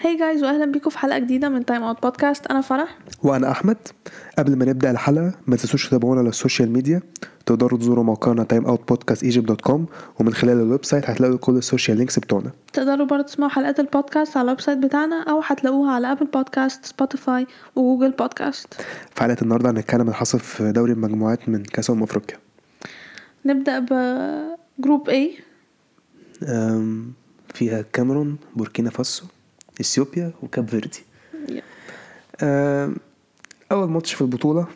هاي جايز واهلا بيكم في حلقه جديده من تايم اوت بودكاست انا فرح وانا احمد قبل ما نبدا الحلقه ما تنسوش تتابعونا على السوشيال ميديا تقدروا تزوروا موقعنا timeoutpodcastegypt.com ومن خلال الويب سايت هتلاقوا كل السوشيال لينكس بتوعنا تقدروا برضه تسمعوا حلقات البودكاست على الويب سايت بتاعنا او هتلاقوها على ابل بودكاست سبوتيفاي وجوجل بودكاست في حلقه النهارده هنتكلم عن اللي حصل في دوري المجموعات من كاس امم افريقيا نبدا بجروب A أم، فيها كاميرون بوركينا فاسو اثيوبيا وكاب فيردي أم، اول آه، ماتش في البطوله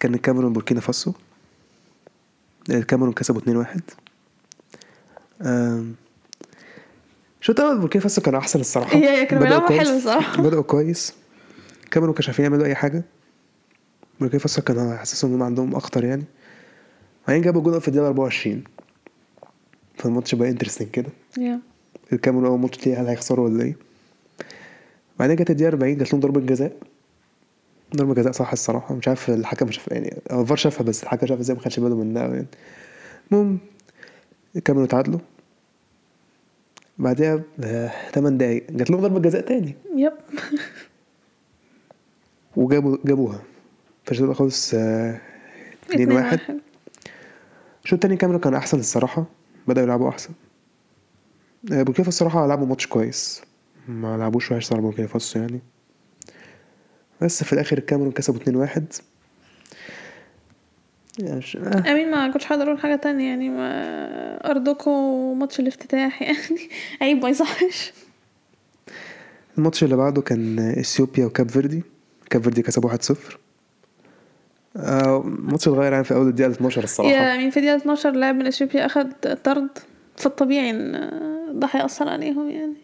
كان الكاميرون بوركينا فاسو الكاميرون كسبوا 2-1 أم، آه، الشوط الاول بوركينا فاسو كان احسن الصراحه هي- هي كانوا بدأوا بيلعبوا كويس. حلو الصراحة. بدأوا كويس الكاميرون كانوا عارفين يعملوا اي حاجه بوركينا فاسو كان حاسسهم ان هم عندهم اخطر يعني بعدين جابوا جول في الدقيقه 24 فالماتش بقى انترستنج كده يا الكاميرون اول ماتش ليه هل هيخسروا ولا ايه بعدين جت الدقيقه 40 جات لهم ضربه جزاء ضربه جزاء صح الصراحه مش عارف الحكم شاف يعني هو الفار شافها بس الحكم شافها ازاي ما خدش باله منها أوي يعني المهم الكاميرون اتعادلوا بعدها ب 8 دقايق جات لهم ضربه جزاء تاني يب وجابوا جابوها آه، فالشوط الأول خلص 2 1 2-1. الشوط التاني الكاميرون كان احسن الصراحه بداوا يلعبوا احسن آه، بوركينا فاسو الصراحه لعبوا ماتش كويس ما لعبوش وحش على بوركينا فاسو يعني بس في الاخر الكاميرون كسبوا 2 1 يعني مش- آه، امين ما كنتش هقدر اقول حاجه تانية يعني ما ارضكم ماتش الافتتاح يعني عيب ما يصحش الماتش اللي بعده كان اثيوبيا وكاب فيردي كاب فيردي كسبوا 1 0 آه، ماتش اتغير يعني في اول الدقيقه 12 الصراحه يا امين في دقيقه 12 لاعب من اثيوبيا اخد طرد فالطبيعي ان ده هيأثر عليهم يعني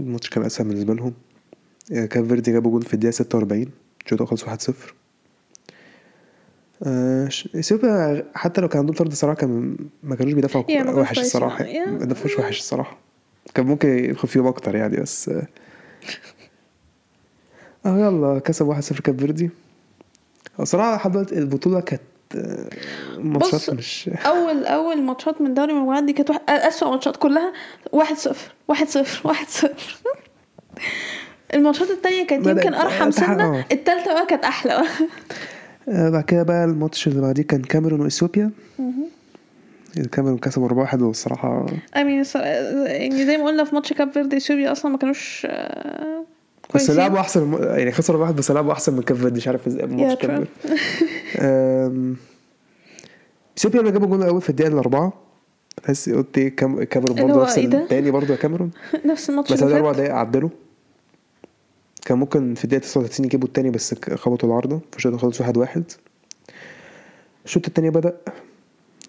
الماتش كان اسهل بالنسبه لهم آه، كاب فيردي جابوا جون في الدقيقه 46 الشوط خلص 1 0 اثيوبيا آه، حتى لو كان عندهم طرد صراحه كان ما كانوش بيدافعوا يا، ما كانوش وحش كويسين آه، يعني. الصراحه أوي، يا. ما دافعوش وحش الصراحه كان ممكن يدخل فيهم اكتر يعني بس اه آه، يلا كسب 1 0 كاب فيردي هو صراحه لحد دلوقتي البطوله كانت آه، ماتشات مش اول اول ماتشات من دوري المجموعات دي كانت واحد- اسوأ ماتشات كلها 1 0 1 0 1 0 الماتشات التانية كانت بدأت آه. يمكن ارحم تحقق. سنة التالتة بقى كانت احلى بقى آه، بعد كده بقى الماتش اللي بعديه كان كاميرون يعني واثيوبيا الكاميرون كسبوا 4 1 والصراحه امين الصرا- يعني زي ما قلنا في ماتش كاب فيردي اثيوبيا اصلا ما كانوش آه، بس كويسين لعبوا احسن يعني خسروا واحد بس لعبوا احسن من كاب فيردي مش عارف ازاي يا ماتش كاب ترى. فيردي. أم، اثيوبيا اللي جابوا جول الاول في الدقيقه الاربعه تحس قلت ايه كام- كاميرون اللي برضه هو نفس إيه ده؟ التاني برضه يا كاميرون نفس الماتش بس اللي بعد فات اربع دقايق عدلوا كان ممكن في الدقيقه 39 يجيبوا التاني بس ك- خبطوا العارضه فالشوط خلص واحد واحد الشوط التاني بدا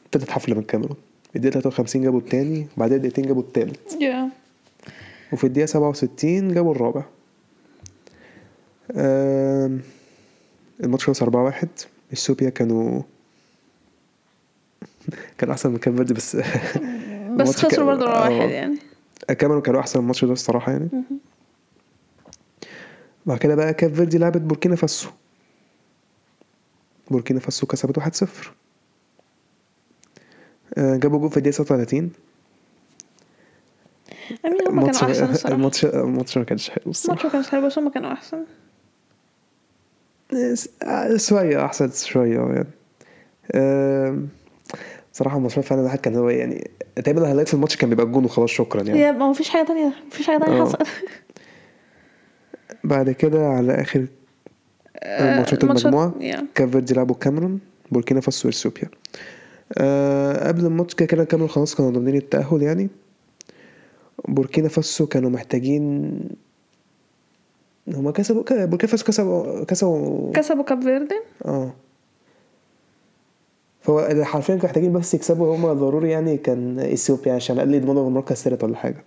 ابتدت حفله من كاميرون الدقيقه 53 جابوا التاني بعدها دقيقتين جابوا التالت يا وفي الدقيقة سبعة وستين جابوا الرابع آم، الماتش خلص أربعة واحد اثيوبيا كانوا كان أحسن من كاب فيردي بس بس الماتش خسروا كان- برضه آه. واحد يعني كاميرون كانوا أحسن الماتش ده الصراحة يعني بعد كده بقى كاب فيردي لعبت بوركينا فاسو بوركينا فاسو كسبت واحد صفر آه، جابوا جول في الدقيقة 36 امين هم كانوا احسن الصراحة الماتش الماتش ما كانش حلو الصراحة الماتش ما كانش حلو بس هم كانوا احسن آه، شوية أحسن شوية أه يعني آم، صراحة الماتش فعلا الواحد كان هو يعني تقريبا الهلاك في الماتش كان بيبقى جون وخلاص شكرا يعني يا ما مفيش حاجة تانية مفيش حاجة تانية آه. حصلت بعد كده على آخر آه، ماتشات المجموعة يا. كافيردي لعبوا الكاميرون بوركينا فاسو واثيوبيا أه قبل الماتش كده كده الكاميرون خلاص كانوا ضامنين التأهل يعني بوركينا فاسو كانوا محتاجين هما كسبوا ك- بوركينا فاسو كسبوا كسبوا كسبوا كاب فيردي اه فهو اللي حرفيا كانوا محتاجين بس يكسبوا هما ضروري يعني كان اثيوبيا عشان على الاقل يضمنوا المركز الثالث ولا حاجه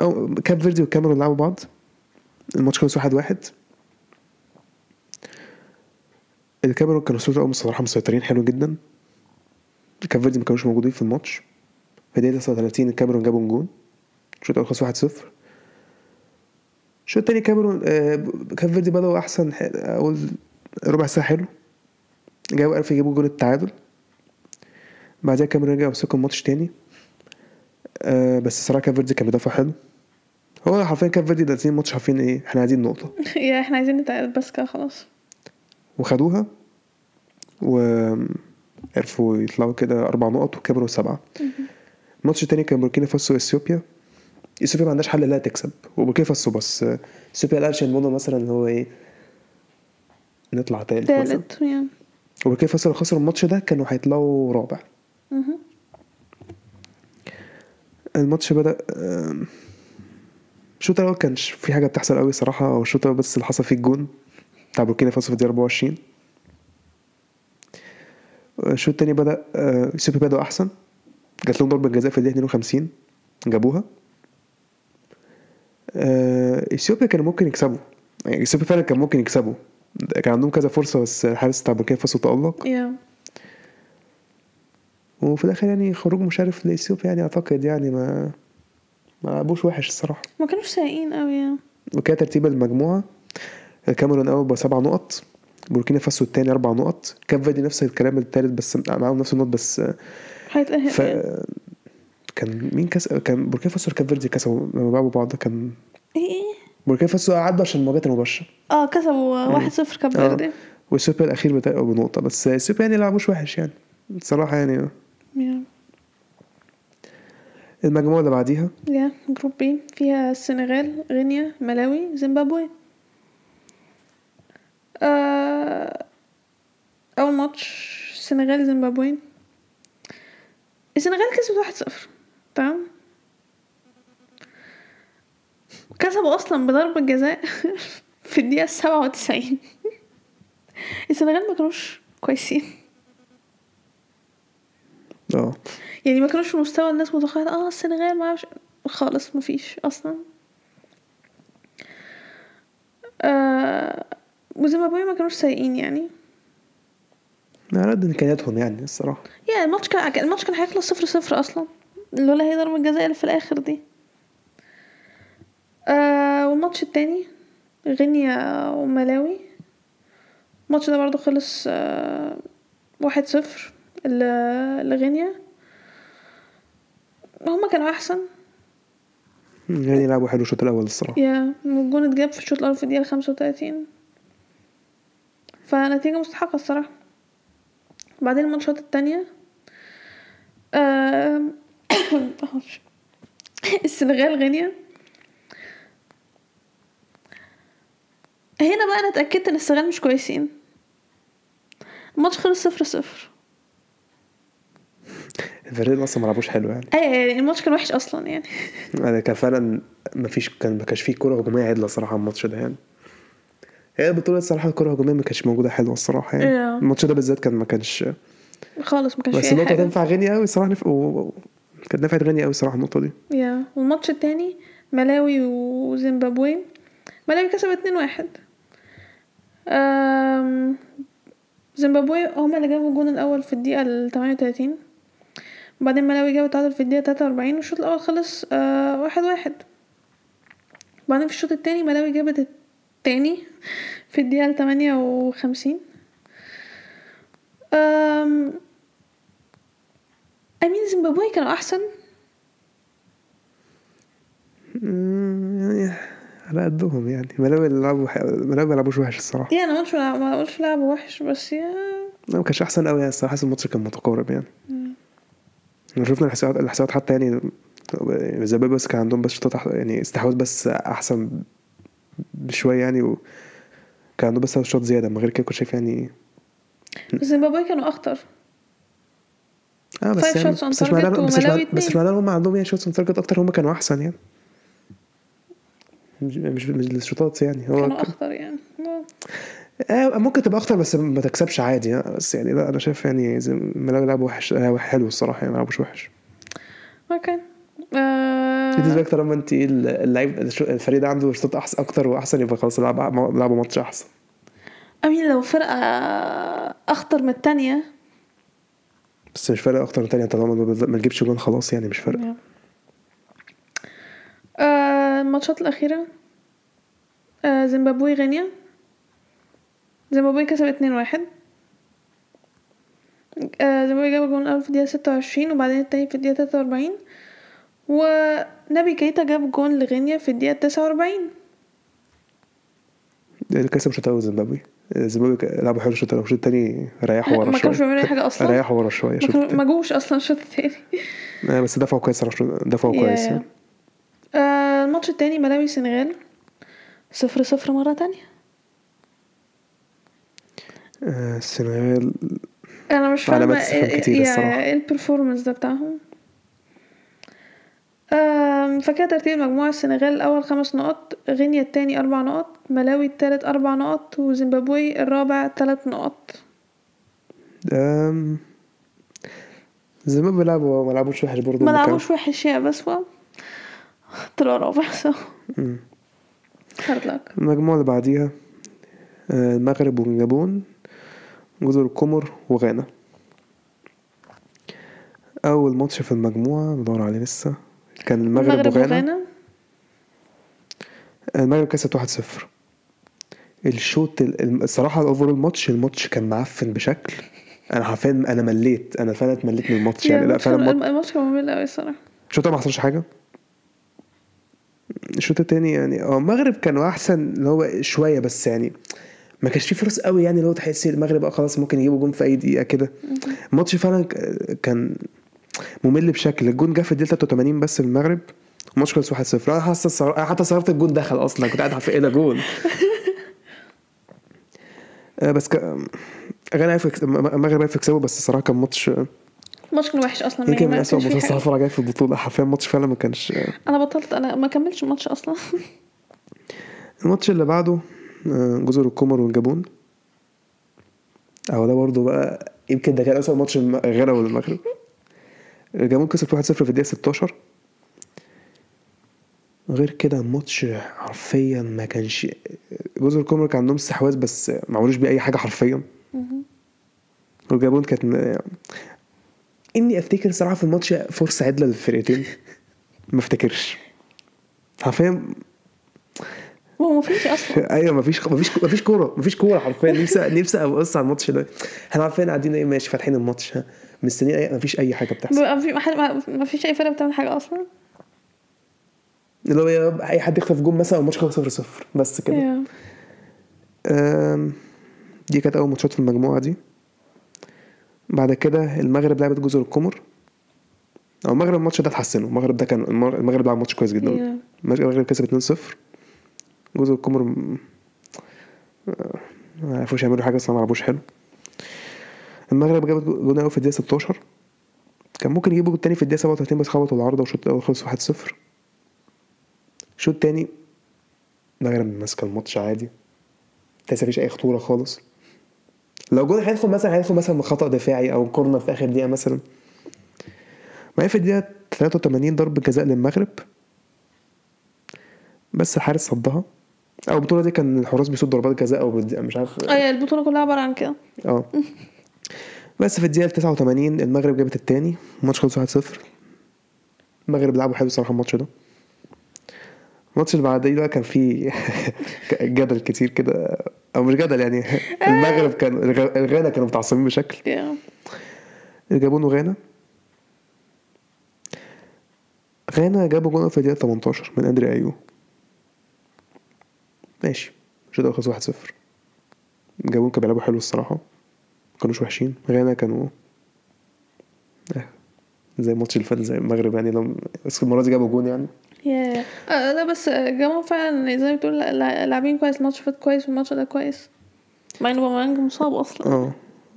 او كاب فيردي والكاميرون لعبوا بعض الماتش خلص واحد واحد الكاميرون كانوا الشوط الاول بصراحه مسيطرين حلو جدا كاب فيردي ما كانوش موجودين في الماتش في دقيقه 39 الكاميرون جابوا جون الشوط الاول خلص 1 0 الشوط التاني كاميرون آه، كاب فيردي بدأوا أحسن ح- أول ربع ساعة حلو جابوا عرفوا يجيبوا جول التعادل بعدها كاميرون رجعوا مسكوا الماتش تاني آه، بس صراحة كاب فيردي كان بيدافع حلو هو حرفيا كاب فيردي دارسين الماتش عارفين ايه احنا عايزين نقطه يا احنا عايزين نتعادل بس كده خلاص وخدوها وعرفوا يطلعوا كده اربع نقط وكبروا سبعه الماتش التاني كان بوركينا فاسو واثيوبيا اثيوبيا ما عندهاش حل لا تكسب وبوركينا فاسو بس اثيوبيا القلش الموضوع مثلا اللي هو ايه نطلع تالت مثلا تالت يعني وبوركينا فاسو لو خسروا الماتش ده كانوا هيطلعوا رابع مهم. الماتش بدأ آم، الشوط الأول كانش في حاجة بتحصل قوي صراحة هو الشوط الأول بس اللي حصل فيه الجون بتاع بوركينا فاسو في الدقيقة 24 الشوط التاني بدأ آه، سيبي بدأوا أحسن جات لهم ضربة جزاء في الدقيقة 52 جابوها آه، اثيوبيا كانوا ممكن يكسبوا يعني اثيوبيا فعلا كان ممكن يكسبوا كان عندهم كذا فرصة بس الحارس بتاع بوركينا فاسو تألق يا وفي الاخر يعني خروج مشرف لاثيوبيا يعني اعتقد يعني ما ما لعبوش وحش الصراحه ما كانوش سايقين قوي يعني وكده ترتيب المجموعه الكاميرون اول بسبع نقط بوركينا فاسو الثاني اربع نقط كاب فيردي نفس الكلام الثالث بس معاهم نفس النقط بس هيتأهل ف يعني. كان مين كس كان بوركينا فاسو وكاب فيردي كسبوا لما لعبوا بعض كان ايه ايه بوركينا فاسو عدوا عشان المواجهات المباشره اه كسبوا واحد صفر كاب آه. فيردي واثيوبيا الاخير بتاعه بنقطه بس اثيوبيا يعني لعبوش وحش يعني الصراحه يعني يا المجموعه اللي بعديها يا جروب بي فيها السنغال غينيا ملاوي زيمبابوي آه اول ماتش السنغال زيمبابوي السنغال كسبت واحد صفر تمام كسبوا اصلا بضربة جزاء في الدقيقة سبعة وتسعين السنغال ما كانوش كويسين اه يعني ما كانوش في مستوى الناس متخيله اه السنغال ما اعرفش خالص ما فيش اصلا آه وزيمبابوي ما كانوش سيئين يعني على قد امكانياتهم يعني الصراحه يا الماتش كان الماتش كان هيخلص صفر صفر اصلا لولا هي ضربة الجزاء اللي في الاخر دي آه والماتش التاني غينيا وملاوي الماتش ده برضو خلص آه واحد صفر ل- لغينيا هما كانوا احسن يعني لعبوا حلو الشوط الاول الصراحه يا والجون اتجاب في الشوط الأول في الدقيقة خمسة وتلاتين فنتيجة مستحقة الصراحة بعدين الماتشات التانية آم، السنغال غينيا هنا بقى أنا اتأكدت إن السنغال مش كويسين الماتش خلص صفر صفر الفريق اصلا ما لعبوش حلو يعني أي يعني الماتش كان وحش أصلا يعني يعني كان فعلا ما فيش كان ما كانش فيه كوره هجوميه عدله صراحه الماتش ده يعني هي البطوله الصراحه الكوره الهجوميه ما كانتش موجوده حلوه الصراحه يعني إيه. الماتش ده بالذات كان ما كانش خالص ما كانش بس فيه أي النقطه حاجة. تنفع غينيا قوي الصراحه نف... و... و- كانت نفعت غينيا قوي الصراحه النقطه دي يا والماتش التاني ملاوي وزيمبابوي ملاوي كسب اتنين واحد أم، زيمبابوي هما اللي جابوا الجون الأول في الدقيقة التمانية وتلاتين وبعدين ملاوي جابوا تعادل في الدقيقة تلاتة وأربعين والشوط الأول خلص آه، واحد واحد بعدين في الشوط التاني ملاوي جابت التاني في الدقيقة التمانية وخمسين أم، أمين زيمبابوي كانوا أحسن أمم، يعني على قدهم يعني ملاوي اللي لعبوا ح... ملاوي ما لعبوش وحش الصراحه يعني ما قلتش ما قلتش لعب وحش بس يا لا ما كانش احسن قوي يعني الصراحه حاسس الماتش كان متقارب يعني احنا شفنا الحسابات الحسابات حتى يعني زباب بس كان عندهم بس شوطات أح- يعني استحواذ بس احسن بشويه يعني وكان عندهم بس شوط زياده من غير كده كنت شايف يعني زيمبابوي كانوا اخطر اه Five بس يعني shots on بس مش معناه target بس مش وملاوي معناه- بس مش اتنين. معناه إن هم عندهم يعني شوتس اون تارجت اكتر هم كانوا احسن يعني مش مش مش الشوطات يعني هو كانوا اخطر يعني آه ممكن تبقى اخطر بس ما تكسبش عادي آه، بس يعني لا انا شايف يعني زي ملاوي لعب وحش آه، حلو الصراحه يعني ما لعبوش وحش اوكي آه بالنسبه لك طالما انت اللعيب الفريق ده عنده شوطات احسن اكتر واحسن يبقى خلاص لعب لعبوا ماتش احسن امين لو فرقه اخطر من التانية بس مش فارق اكتر من تاني طالما ما بت- ما تجيبش جون خلاص يعني مش فارق آه الماتشات الاخيره آه زيمبابوي غينيا زيمبابوي كسب 2 واحد آه زيمبابوي جاب جون الاول في الدقيقه 26 وبعدين التاني في الدقيقه 43 ونبي كيتا جاب جون لغينيا في الدقيقة 49 اللي كسب شوط اول زيمبابوي إيه، زيمبابوي ك- لعبوا حلو الشوط الاول الشوط التاني ريحوا لا، ورا ما كانوش شويه بيعملوا اي حاجة اصلا ريحوا ورا شويه ما شوط كانوا- ما التاني. جوش اصلا الشوط التاني آه، بس دفعوا كويس على الشوط- دفعوا يا- كويس يا. يعني. آه، الماتش التاني ملاوي سنغال صفر صفر مرة تانية آه، السنغال انا مش علامات فاهمة استفهام ايه كتير إيه- الصراحة. ايه البرفورمانس ده بتاعهم آم، فكده ترتيب مجموعة السنغال الأول خمس نقط غينيا التاني أربع نقط ملاوي التالت أربع نقط وزيمبابوي الرابع تلات نقط آم، زيمبابوي لعبوا ما لعبوش وحش برضه ما هما كانوا- لعبوش وحش يا بسوة طلعوا رابع سو مم. هارد لك المجموعة اللي بعديها آه، المغرب والجابون جزر القمر وغانا أول ماتش في المجموعة بدور عليه لسه كان المغرب, المغرب وغانا وغانا المغرب كسبت 1-0 الشوط ال- الم- الصراحة الأوفر الماتش الماتش كان معفن بشكل أنا حرفيا أنا مليت أنا فعلا اتمليت من الماتش يا يعني لا الماتش فعلا كان- الماتش- الماتش كان ممل أوي الصراحة الشوط الأول ما حصلش حاجة الشوط التاني يعني اه المغرب كانوا احسن اللي هو شويه بس يعني ما كانش فيه فرص قوي يعني اللي هو تحس المغرب اه خلاص ممكن يجيبوا جون في اي دقيقه كده الماتش فعلا ك- كان ممل بشكل الجون جه في الدقيقه 83 بس المغرب الماتش خلص 1-0 انا حاسس الصرا- انا حتى صرفت الجون دخل اصلا كنت قاعد عارف ايه ده جون آه، بس ك... غانا عرف يكس- الم- المغرب عرف يكسبه بس الصراحه كان ماتش آه، الماتش كان وحش أصلا يمكن يعني من ما اسوء كانش فيه ماتشات حاجة. الصراحه اتفرج عليها في البطوله حرفيا الماتش فعلا ما كانش آه، أنا بطلت أنا ما كملتش الماتش أصلا الماتش اللي بعده آه، جزر القمر والجابون اهو ده برضه بقى يمكن ده كان اسوء ماتش الم- غانا والمغرب الجابون كسبت 1-0 في الدقيقة 16 غير كده الماتش حرفيا ما كانش جزر القمر كان عندهم استحواذ بس ما عملوش بيه اي حاجة حرفيا والجابون كانت م- اني افتكر صراحة في الماتش فرصة عدلة للفرقتين ما افتكرش حرفيا هو مفيش أصلا ايوه مفيش مفيش مفيش كوره مفيش كوره حرفيا نفسي نفسي ابص على الماتش ده احنا عارفين قاعدين ايه ماشي فاتحين الماتش ها، مستنيين أي- مفيش اي حاجه بتحصل بيبقى في- ما حد- ما- ما فيش أي فرقة بتعمل حاجة أصلا اللي هو يا رب اي حد يخطف جون مثلا والماتش خلص 0 0 بس كده يا. أم، دي كانت اول ماتشات في المجموعه دي بعد كده المغرب لعبت جزر القمر او المغرب الماتش ده اتحسنوا المغرب ده كان المر- المغرب لعب ماتش كويس جدا يا. المغرب كسب 2 0 جزر القمر م- ما عرفوش يعملوا حاجه اصلا ما لعبوش حلو المغرب جابت جو- جون اول في الدقيقه 16 كان ممكن يجيبوا التاني في الدقيقه 37 بس خبطوا العارضه والشوط الاول خلص 1 0 الشوط التاني المغرب ماسكه الماتش عادي تحس مفيش اي خطوره خالص لو جون هيدخل مثلا هيدخل مثلا من خطا دفاعي او كورنر في اخر دقيقه مثلا ما هي في الدقيقه 83 ضربه جزاء للمغرب بس الحارس صدها او البطوله دي كان الحراس بيصدوا ضربات جزاء او بد- مش عارف أي آه، يعني البطولة كلها عبارة عن كده اه بس في الدقيقة 89 المغرب جابت التاني الماتش خلص 1-0 المغرب لعبوا حلو الصراحة الماتش ده الماتش اللي بعديه بقى كان فيه جدل كتير كده او مش جدل يعني المغرب كان الغ- الغانا كانوا متعصبين بشكل يا. الجابون وغانا غانا جابوا جون في الدقيقة 18 من أندري أيو ماشي الشوط الأول خلص 1-0 الجابون كانوا بيلعبوا حلو الصراحة ما كانوش وحشين غانا كانوا آه، زي الماتش اللي فات زي المغرب يعني لو بس المرة دي جابوا جون يعني يا آه، لا بس آه، جمال فعلا زي ما بتقول لا- لا- لاعبين كويس الماتش فات كويس والماتش ده كويس مع ان بومانج مصاب اصلا اه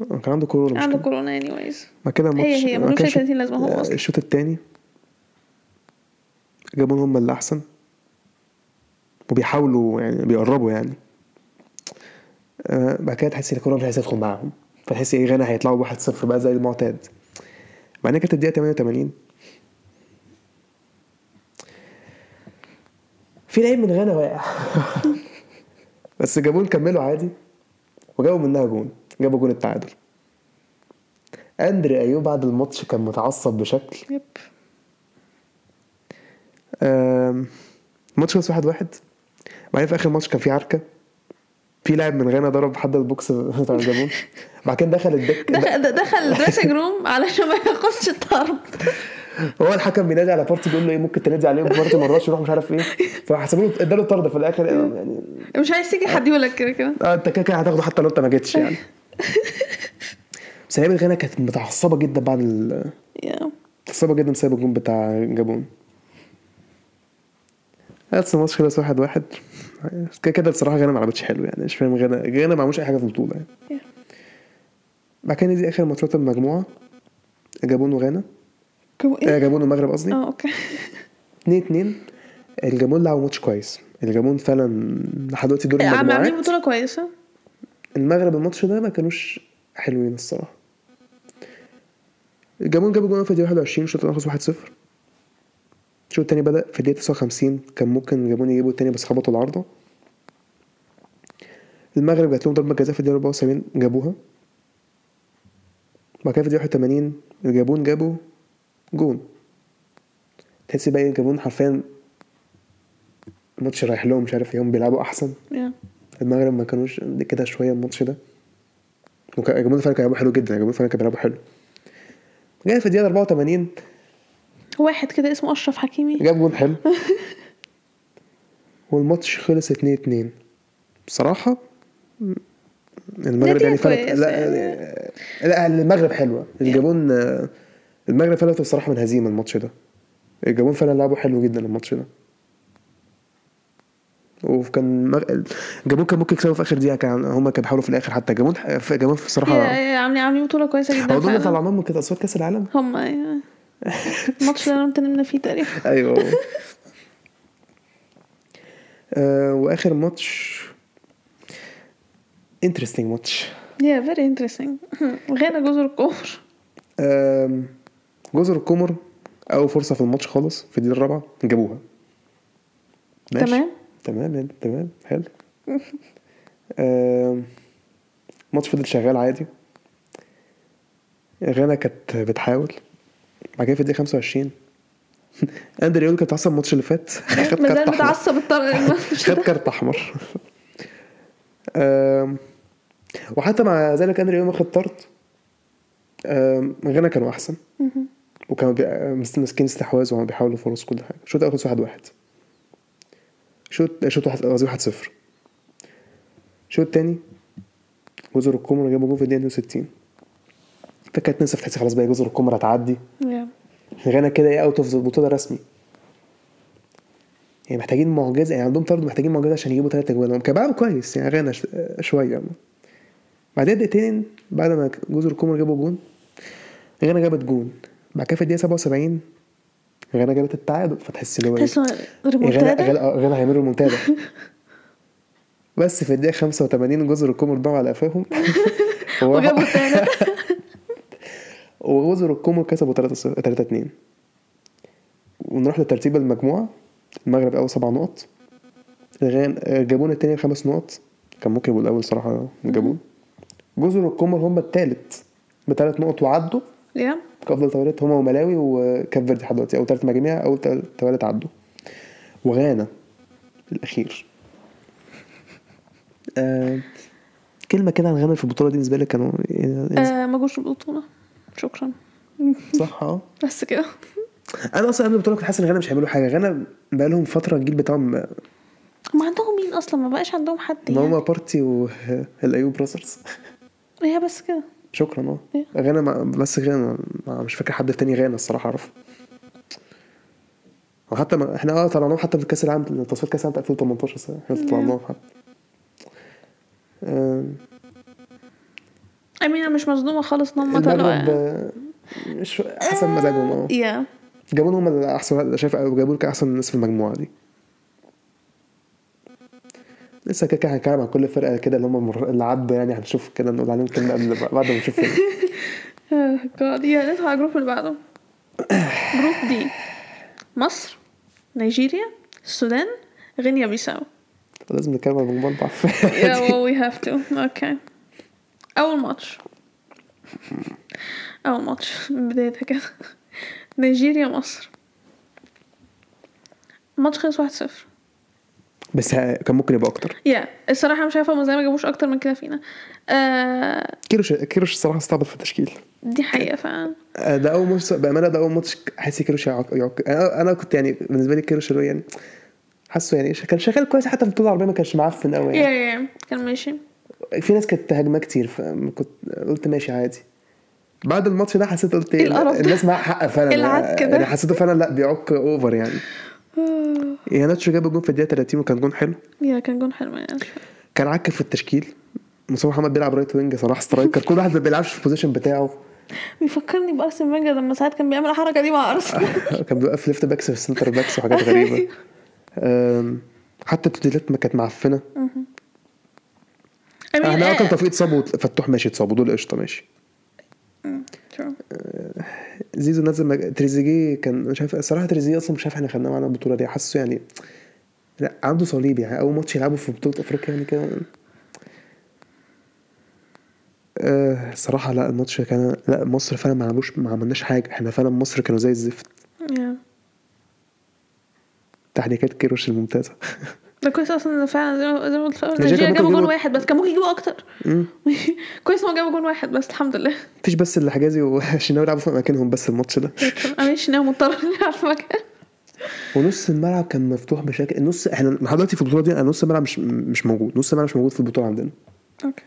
كان عنده كورة مش عنده كده؟ كورونا اني وايز بعد كده الماتش هي بعد ملوش كده أي الشوط- 30 لازمة هو آه، أصلا. الشوط التاني جابون هم اللي أحسن وبيحاولوا يعني بيقربوا يعني آه، بعد كده تحس ان الكوره مش عايزه تدخل معاهم فتحس ايه غانا هيطلعوا 1-0 بقى زي المعتاد بعدين كانت الدقيقه 88 في لعيب من غانا واقع بس جابون كملوا عادي وجابوا منها جون جابوا جون التعادل اندري ايوب بعد الماتش كان متعصب بشكل يب آم، الماتش خلص واحد واحد بعدين في اخر ماتش كان في عركه في لاعب من غانا ضرب حد البوكس بتاع الجابون بعد كده دخل الدك دخل دخل دريسنج روم علشان ما ياخدش الطرد هو الحكم بينادي على بارتي بيقول له ايه ممكن تنادي عليه بارتي ما رضاش يروح مش عارف ايه فحسبوا له اداله طرد في الاخر يعني مش عايز تيجي حديولك كده كده اه انت كده كده هتاخده حتى لو انت ما جيتش يعني بس لعيبه غانا كانت متعصبه جدا بعد ال- يا. متعصبه جدا بسبب الجون بتاع جابون بس الماتش خلص واحد واحد كده كده بصراحه غانا ما عملتش حلو يعني مش فاهم غانا غانا ما عملوش اي حاجه في البطوله يعني Yeah. بعد كده دي اخر ماتشات المجموعه جابون وغانا كو- آه، ايه جابون والمغرب قصدي اه اوكي 2 2 الجابون لعبوا ماتش كويس الجابون فعلا لحد دلوقتي دور آه، عم- عاملين المجموعات بطولة كويسة المغرب الماتش ده ما كانوش حلوين الصراحه الجابون جابوا جون في الدقيقه 21 الشوط الاول خلص 1 0 الشوط التاني بدأ في الدقيقة 59 كان ممكن الجابون يجيبوا التاني بس خبطوا العارضة المغرب جات لهم ضربة جزاء في الدقيقة 74 جابوها بعد كده في الدقيقة 81 الجابون جابوا جون تحس بقى إيه، الجابون حرفيا الماتش رايح لهم مش عارف ايه هم بيلعبوا أحسن يا. المغرب ما كانوش قد كده شويه الماتش ده وكا- الجمهور فعلا كان بيلعبوا حلو جدا الجمهور فعلا كان بيلعبوا حلو جاي في الدقيقه 84 واحد كده اسمه اشرف حكيمي جاب جول حلو والماتش خلص 2 2 بصراحه م- المغرب نتيجة يعني فلت كويسة يعني. إيه. لا لا المغرب حلوه الجابون آه، المغرب فلت بصراحه من هزيمه الماتش ده الجابون فعلا لعبوا حلو جدا الماتش ده وكان مغ... الجابون كان ممكن يكسبوا في اخر دقيقه كان هم كانوا بيحاولوا في الاخر حتى الجابون الجابون يا- بصراحه يا- عاملين عاملين بطولة كويسة جدا هو دول فعلا. طلعناهم من كده اصوات كاس العالم هم ايوه الماتش اللي انا كنت نمنا فيه تقريبا ايوه آه واخر ماتش انترستنج ماتش يا فيري انترستنج غانا جزر القمر آم، جزر القمر اول فرصه في الماتش خالص في الدقيقه الرابعه جابوها ماشي. تمام. تمام يعني، تمام حلو آم، الماتش فضل شغال عادي غانا كانت بتحاول بعد كده في الدقيقه 25 اندري يقول كان متعصب الماتش اللي فات خد كارت مازال أحمر. متعصب الطرق خد كارت احمر أم، وحتى مع ذلك اندري يوم خد طرد أم، غانا كانوا احسن وكانوا بي- مس- ماسكين استحواذ وكانوا بيحاولوا فرص كل حاجه شوط اخر واحد واحد شوط شوط واحد قصدي واحد صفر شوط تاني جزر القمر جابوا جول في الدقيقه 62 فكانت نفسها تحس خلاص بقى جزر القمر هتعدي يا. غانا كده ايه اوت اوف البطوله رسمي يعني محتاجين معجزه يعني عندهم طرد محتاجين معجزه عشان يجيبوا ثلاث اجوان هم كانوا بيلعبوا كويس يعني غانا ش- شويه بعدها دقيقتين بعد ما جزر القمر جابوا جون غانا جابت جون بعد كده في الدقيقه 77 غانا جابت التعادل فتحس اللي هو إيه؟ تحس إنه غانا ريمونتادا غانا آه، غانا هيعملوا المنتدى بس في الدقيقه 85 جزر القمر ضاعوا على قفاهم وجابوا التالت وجزر القمر كسبوا 3 3 2 ونروح لترتيب المجموعة المغرب أول سبع نقط الغان- الجابون التاني بخمس نقط كان ممكن يبقوا الأول صراحة الجابون جزر القمر هم التالت بثلاث نقط وعدوا يا كأفضل توالت هم وملاوي وكاب فيردي لحد دلوقتي أول تلات مجاميع أول تل- توالت عدوا وغانا الأخير آه كلمة كده عن غانا في البطولة دي بالنسبة لك كانوا آه، ما جوش البطولة شكرا صح اه بس كده انا اصلا قبل البطوله كنت حاسس ان غانا مش هيعملوا حاجه غانا بقالهم فتره الجيل بتاعهم ما ما عندهم مين اصلا ما بقاش عندهم حد يعني هما بارتي والايوب براذرز هي بس كده شكرا اه إيه. غانا ما- بس غانا ما- مش فاكر حد تاني غانا الصراحه اعرفه وحتى ما احنا اه طلعناهم حتى في كاس العالم تصفيات كاس العالم بتاع 2018 صح؟ احنا نعم. طلعناهم حتى آه، امينه مش مصدومه خالص ان هم المغرب طلعوا آه، مش حسب مزاجهم اه يا جابون هم اللي احسن شايف جابون كاحسن ناس في المجموعه دي لسه كده كده هنتكلم عن كل فرقه كده اللي هم مر... اللي عدوا يعني هنشوف كده نقول عليهم كلمه قبل بعد ما نشوف آه، جاد يا ندخل على الجروب اللي بعده جروب دي مصر نيجيريا السودان غينيا بيساو لازم نتكلم عن المجموعه بتاع يا وي هاف تو اوكي اول ماتش اول ماتش من بدايتها كده نيجيريا مصر الماتش خلص 1-0 بس ه- كان ممكن يبقى اكتر يا الصراحه مش عارفه هما ازاي ما جابوش اكتر من كده فينا آه كيروش كيروش الصراحه استعبط في التشكيل دي حقيقه فعلا آه، ده اول ماتش بامانه ده اول ماتش حاسس كيروش يعق... يعق... انا أنا كنت يعني بالنسبه لي كيروش اللي هو يعني حاسه يعني ش- كان شغال كويس حتى في البطوله العربيه ما كانش معفن قوي يا يعني يا يا. كان ماشي في ناس كانت هاجمه كتير فكنت قلت ماشي عادي بعد الماتش ده حسيت قلت إيه القرف ده؟ الناس معاها حق فعلا إيه العك ده؟ يعني حسيته فعلا لا بيعك اوفر يعني آه، يا ناتشو جاب جون في الدقيقه 30 وكان جون حلو يا كان جون حلو يعني كان عك في التشكيل مصطفى محمد بيلعب رايت وينج صلاح سترايكر كل واحد ما بيلعبش في البوزيشن بتاعه بيفكرني بارسن فينجر لما ساعات كان بيعمل الحركه دي مع ارسنال كان بيوقف ليفت باكس في سنتر باكس وحاجات غريبه أم، حتى التبديلات ما كانت I معفنه mean، احنا آه، آه كان توفيق اتصاب وفتوح ماشي اتصابوا دول قشطه ماشي مم، true. زيزو نزل مج... تريزيجيه كان مش عارف الصراحه تريزيجيه اصلا مش عارف احنا خدناه معانا البطوله دي حاسه يعني لا عنده صليب يعني اول ماتش يلعبه في بطوله افريقيا يعني كده أه، الصراحة لا الماتش كان لا مصر فعلا ما عملوش ما عملناش حاجة احنا فعلا مصر كانوا زي الزفت Yeah. تحريكات كيروش الممتازة ده كويس اصلا إن فعلا زي ما زي ما قلت في الأول، نيجيريا نيجيريا يعني ممكن جابوا جون يجيبوا- واحد بس كان ممكن يجيبوا اكتر مم. كويس ان هم جابوا جون واحد بس الحمد لله مفيش بس الحجازي والشناوي لعبوا في مكانهم بس الماتش ده انا مش ناوي مضطر نلعب في مكان ونص الملعب كان مفتوح بشكل النص احنا لحد دلوقتي في البطوله دي أنا نص الملعب مش مش موجود نص الملعب مش موجود في البطوله عندنا اوكي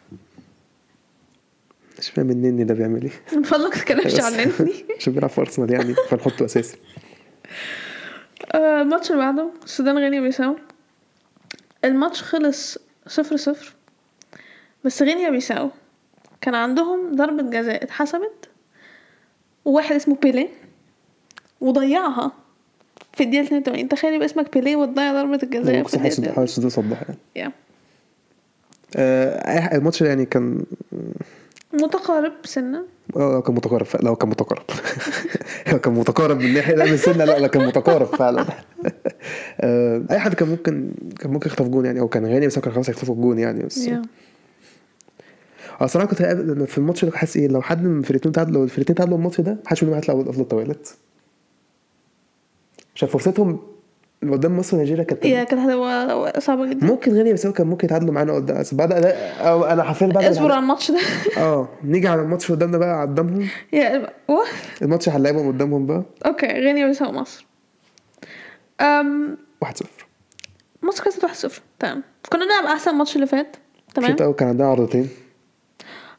مش فاهم النني ده بيعمل ايه من فضلك ما تتكلمش بس. عنني عشان بيلعب في ارسنال يعني فنحطه اساسي آه، الماتش اللي بعده السودان غينيا بيساو الماتش خلص صفر صفر بس غينيا بيساو كان عندهم ضربة جزاء اتحسبت وواحد اسمه بيلي وضيعها في الدقيقة 82 تخيل يبقى اسمك بيلي وتضيع ضربة ده الجزاء في مقصود حاسس الدقيقة حاسس ده صدها يعني 82. Yeah. آه، الماتش ده يعني كان متقارب سنة اه كان متقارب فعلا لا كان متقارب هو كان متقارب من ناحيه لا من سنه لا لا كان متقارب فعلا آه، اي حد كان ممكن كان ممكن يخطف جون يعني او كان غني بس هو كان خلاص هيخطفوا الجون يعني بس yeah. اه صراحه كنت قاعد في الماتش ده حاسس ايه لو حد من الفرقتين تعادل لو الفرقتين تعادلوا الماتش ده محدش منهم هيطلع افضل توالت عشان فرصتهم اللي قدام مصر ونيجيريا كانت يا كانت هتبقى صعبة جدا ممكن غني بس هو كان ممكن يتعادلوا معانا قدام بس بعد أداء- أو انا حرفيا بعد اصبر على الماتش ده اه نيجي على الماتش اللي قدامنا بقى قدامهم يا وات الماتش هنلعبهم قدامهم بقى اوكي غينيا بيساو مصر أم 1-0 مصر كسبت 1 0 تمام كنا نلعب احسن ماتش اللي فات تمام الشوط الاول كان عندنا عرضتين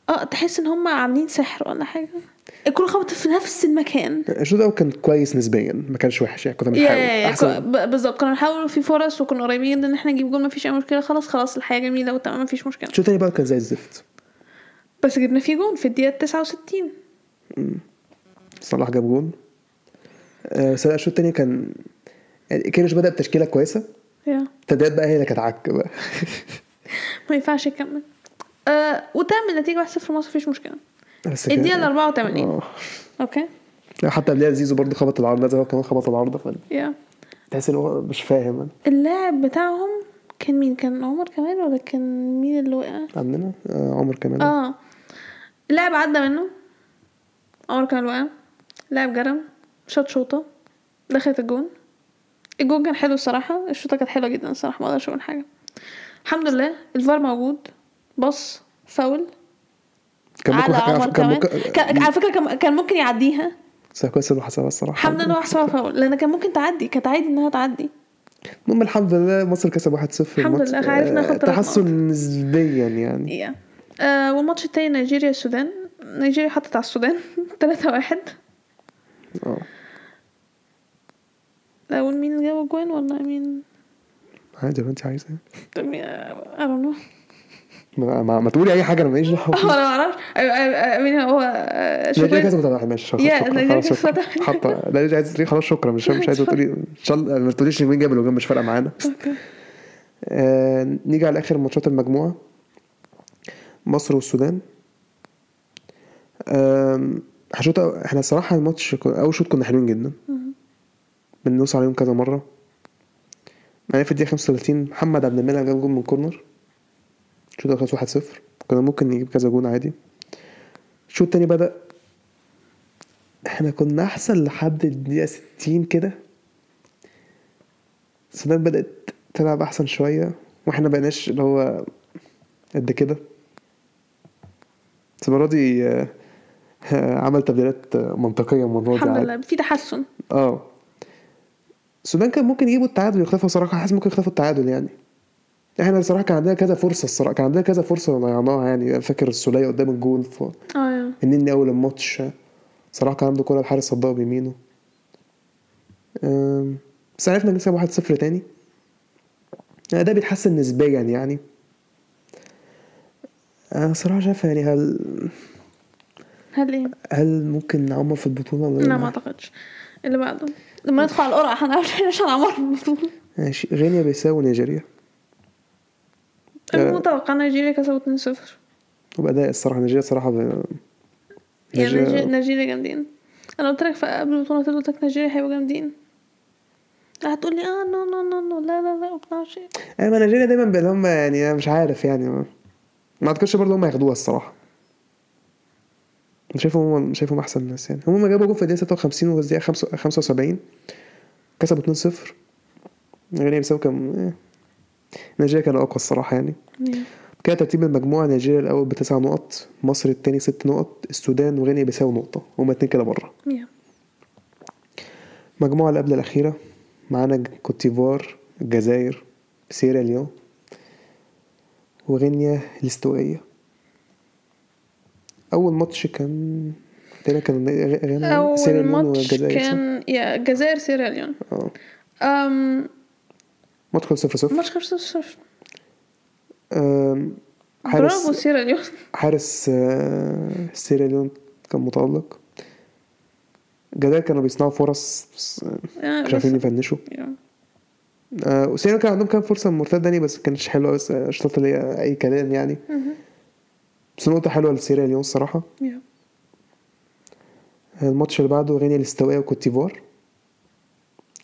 اه تحس ان هم عاملين سحر ولا حاجه الكره خبطت في نفس المكان الشوط الاول كان كويس نسبيا ما كانش وحش يعني كنا يا- بنحاول يا- يا، كو- احسن ب- بالظبط كنا بنحاول في فرص وكنا قريبين جدا ان احنا نجيب جول مفيش اي مشكله خلاص خلاص الحياه جميله وتمام مفيش مشكله الشوط الثاني بقى كان زي الزفت بس جبنا فيه جول في الدقيقه 69 صلاح جاب جول آه، بس لا، الشوط الثاني كان يعني كيروش بدا بتشكيله كويسه يا التدريبات بقى هي اللي كانت عك بقى ما ينفعش يكمل آه وتعمل نتيجه 1 0 مصر مفيش مشكله بس كده- الدقيقه 84 آه. اوكي لا، حتى قبلها زيزو برضه خبط العارضه زي هو كمان خبط العارضه فاهم يا تحس ان هو مش فاهم أنا. اللاعب بتاعهم كان مين كان عمر كمان ولا كان مين اللي وقع عندنا آه، عمر كمان اه لاعب عدى منه عمر كمال وقع لاعب جرم شاط شوطة دخلت الجون الجون كان حلو الصراحة الشوطة كانت حلوة جدا الصراحة ما اقدرش اقول حاجة الحمد لله الفار موجود بص فاول كان ممكن على حاجة- عمر كان كمان ممكن كان على فكرة كان- كان ممكن يعديها بس كويس انه حسبها الصراحه الحمد لله هو حسبها فاول لان كان ممكن تعدي كانت عادي انها تعدي المهم الحمد لله مصر كسب 1-0 الحمد الماتش. لله، عرفنا آه، ناخد تلات تحسن نسبيا يعني يا آه والماتش التاني نيجيريا السودان نيجيريا حطت على السودان 3 واحد اه الاول مين اللي جاب الجوان ولا مين عادي لو انت عايزه I don't know ما, ما, ما تقولي اي حاجه انا ماليش دعوه هو انا معرفش I- I- I mean هو آه، نيجيريا شوبير- كسبت على ماشي يا، شكرا، نيجيريا خلاص شكرا كسبت. حاطه لا مش عايز تقولي خلاص شكرا مش مش عايزه تقولي ان شاء الله ما تقوليش مين جاب الهجوم مش فارقه معانا أوكي. آه، نيجي على اخر ماتشات المجموعه مصر والسودان آم، هشوط احنا الصراحه الماتش كو- اول شوط كنا حلوين جدا بندوس عليهم كذا مره يعني في الدقيقه 35 محمد عبد المنعم جاب جول من كورنر الشوط ده خلص 1-0 كنا ممكن نجيب كذا جون عادي الشوط التاني بدأ احنا كنا احسن لحد الدقيقة 60 كده السودان بدأت تلعب احسن شويه واحنا بقيناش اللي هو قد كده بس المره دي آه، آه، عمل تبديلات آه، منطقيه المره دي الحمد عاد. لله في تحسن اه السودان كان ممكن يجيبوا التعادل يخلفوا صراحه حاسس ممكن يخلفوا التعادل يعني احنا الصراحه كان عندنا كذا فرصه الصراحه كان عندنا كذا فرصه ضيعناها يعني فاكر السوليه قدام الجون ف... اه النني اول الماتش صلاح كان عنده كوره الحارس صدها بيمينه أم، بس عرفنا نكسب 1-0 تاني ده بيتحسن نسبيا يعني انا صراحه شايف يعني هل هل ايه؟ هل ممكن نعمر في البطوله ولا لا لا؟ ما اعتقدش اللي بعده لما ندخل على القرعه هنعرف احنا مش هنعمر البطوله ماشي غينيا بيساو ونيجيريا آه. المتوقع نيجيريا كسبوا 2-0 وبأداء الصراحه نيجيريا صراحه ب... يعني نيجيريا- نيجيريا- نيجيريا جامدين انا قلت لك قبل البطوله تبدا قلت لك نيجيريا هيبقوا جامدين هتقول لي اه نو نو نو نو لا لا لا وبتاع شيء انا آه، ما نيجيريا دايما بقى اللي هم يعني انا مش عارف يعني ما, ما اعتقدش برضه هم ياخدوها الصراحه انا شايفهم هم شايفهم احسن ناس يعني هم جابوا جول في الدقيقه 56 وفي الدقيقه 75 كسبوا 2-0 غينيا بيساو كان إيه. نيجيريا كان اقوى الصراحه يعني كده ترتيب المجموعه نيجيريا الاول بتسع نقط مصر التاني ست نقط السودان وغينيا بيساو نقطه هما اتنين كده بره يا المجموعة اللي قبل الأخيرة معانا ج- كوتيفوار الجزائر سيراليون وغينيا الاستوائية أول ماتش كان تقريبا كان غ- غانا اول سيراليون ماتش والجزائر صح؟ كان يا الجزائر سيراليون اه أم، ماتش كان صفر صفر ماتش 5 0 آم، برافو حارس سيراليون حارس آه، سيراليون كان متألق الجزائر كانوا بيصنعوا فرص بس آه، مش عارفين بس- يفنشوا يا. آه، وسيراليون كان عندهم كام فرصة مرتدة يعني بس كانتش حلوة بس آه، الشوط اللي هي أي كلام يعني مهم. بس نقطة حلوة لسيريا اليوم الصراحة يا. الماتش اللي بعده غينيا الاستوائية وكوتيفوار